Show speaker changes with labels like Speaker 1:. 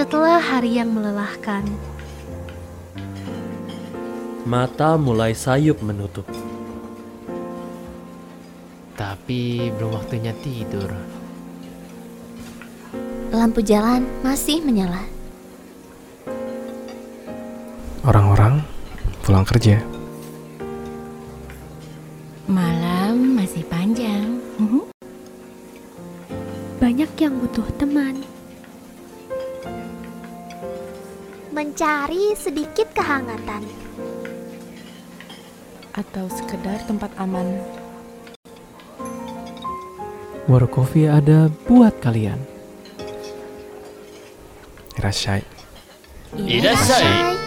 Speaker 1: hari yang melelahkan.
Speaker 2: Mata mulai sayup menutup.
Speaker 3: Tapi belum waktunya tidur.
Speaker 4: Lampu jalan masih menyala.
Speaker 5: Orang-orang pulang kerja.
Speaker 6: Malam masih panjang.
Speaker 1: Banyak yang butuh teman.
Speaker 4: Mencari sedikit kehangatan.
Speaker 7: atau sekedar tempat aman.
Speaker 3: Warung kopi ada buat kalian.
Speaker 5: Rasyai.
Speaker 2: Irasai.
Speaker 4: Hai.